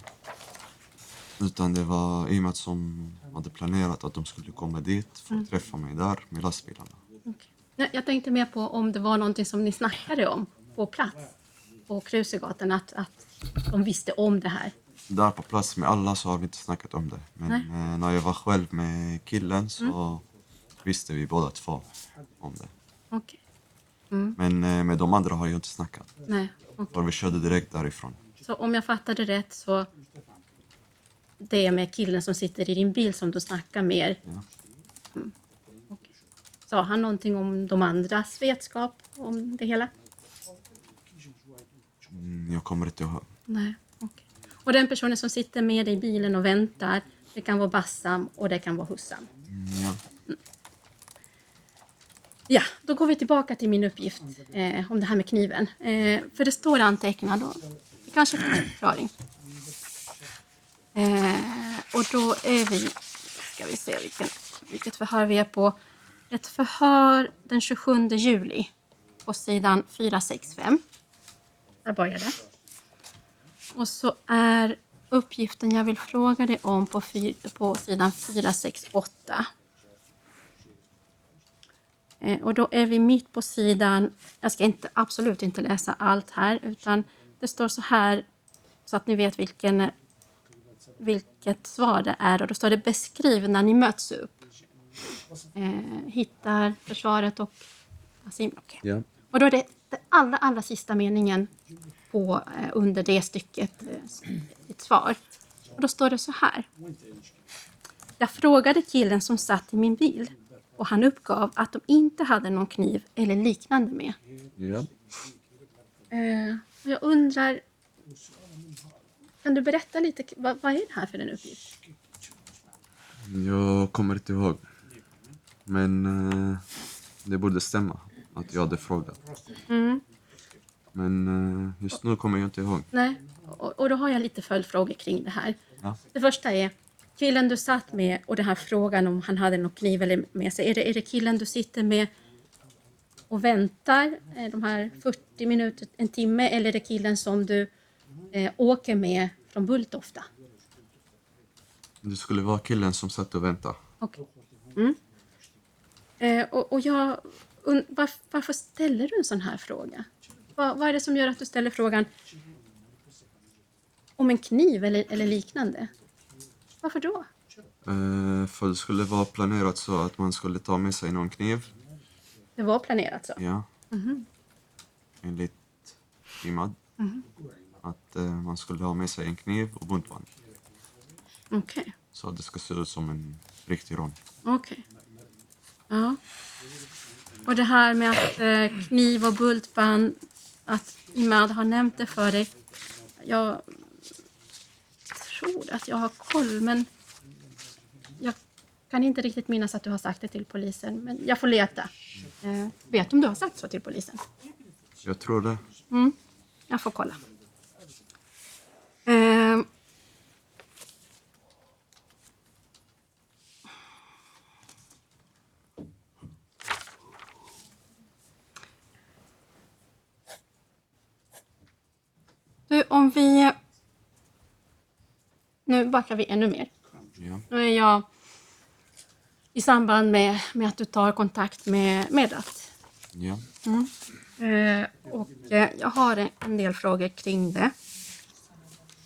Speaker 1: utan det var Imad som hade planerat att de skulle komma dit för att träffa mig där med lastbilarna.
Speaker 3: okej. nej. Jag tänkte mer på om det var någonting som ni snackade om på plats på Krusegatan, att, att de visste om det här.
Speaker 1: Där på plats med alla så har vi inte snackat om det. Men eh, när jag var själv med killen så visste vi båda två om det.
Speaker 3: Okej,
Speaker 1: Men eh, med de andra har jag inte snackat.
Speaker 3: nej, okej.
Speaker 1: För vi körde direkt därifrån.
Speaker 3: Så om jag fattade rätt så det är med killen som sitter i din bil som du snackar med.
Speaker 1: Ja.
Speaker 3: Okej. Sa han någonting om de andras vetskap om det hela?
Speaker 1: Mm, jag kommer inte ihåg.
Speaker 3: Nej. okej. Och den personen som sitter med dig i bilen och väntar, det kan vara Bassam och det kan vara Hussam.
Speaker 1: Mm, Ja.
Speaker 3: Ja, då går vi tillbaka till min uppgift eh, om det här med kniven. Eh, för det står antecknad och det kanske finns en förklaring. Eh, och då är vi, ska vi se vilken, vilket förhör vi är på. Ett förhör den 27 juli på sidan 465. Där börjar det. Och så är uppgiften jag vill fråga dig om på, fy, på sidan 468. Eh, Och då är vi mitt på sidan, jag ska inte, absolut inte läsa allt här, utan det står så här så att ni vet vilken, vilket svar det är. Och då står det beskriv när ni möts upp. Eh, hittar försvaret och Asim. okej.
Speaker 1: Ja.
Speaker 3: Och då är det den allra, allra sista meningen på, eh, under det stycket, eh, ett svar. Och då står det så här. Jag frågade killen som satt i min bil och han uppgav att de inte hade någon kniv eller liknande med.
Speaker 1: Ja.
Speaker 3: Eh, och jag undrar, kan du berätta lite, k- vad, vad är det här för en uppgift?
Speaker 1: Jag kommer inte ihåg. Men eh, det borde stämma att jag hade frågat. Men eh, just nu kommer jag inte ihåg.
Speaker 3: Nej, och, och då har jag lite följdfrågor kring det här.
Speaker 1: Ja.
Speaker 3: Det första är, killen du satt med och den här frågan om han hade någon kniv eller med sig, är det, är det killen du sitter med och väntar eh, de här 40 minuter, en timme, eller är det killen som du eh, åker med från Bulltofta?
Speaker 1: Det skulle vara killen som satt och väntade.
Speaker 3: Okej. Mm. Eh, och, och jag und- varf- varför ställer du en sån här fråga? Vad, vad är det som gör att du ställer frågan om en kniv eller, eller liknande? Varför då?
Speaker 1: Eh, för det skulle vara planerat så att man skulle ta med sig någon kniv.
Speaker 3: Det var planerat så.
Speaker 1: Ja. Enligt Imad. Att eh, man skulle ha med sig en kniv och buntband.
Speaker 3: Okej.
Speaker 1: Så att det ska se ut som en riktig rom.
Speaker 3: Okej. Ja. Och det här med att eh, kniv och bultband, att Imad har nämnt det för dig. Jag tror att jag har koll, men jag kan inte riktigt minnas att du har sagt det till polisen. Men jag får leta. Eh, vet du om du har sagt så till polisen?
Speaker 1: Jag tror det.
Speaker 3: Jag får kolla. Ehm. Du, om vi... Nu backar vi ännu mer.
Speaker 1: Ja.
Speaker 3: Nu är jag i samband med, med att du tar kontakt med Medat.
Speaker 1: Ja.
Speaker 3: Eh, och eh, jag har en del frågor kring det.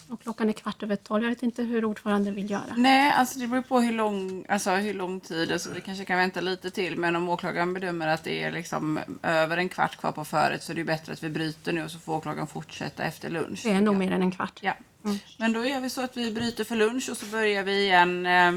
Speaker 3: Och klockan är kvart över tolv. Jag vet inte hur ordföranden vill göra.
Speaker 2: Nej, alltså det beror på hur lång, alltså hur lång tid, alltså vi kanske kan vänta lite till. Men om åklagaren bedömer att det är liksom över en kvart kvar på föret så är det ju bättre att vi bryter nu och så får åklagaren fortsätta efter lunch.
Speaker 3: Det är nog mer än en kvart.
Speaker 2: Ja. Men då gör vi så att vi bryter för lunch och så börjar vi igen eh,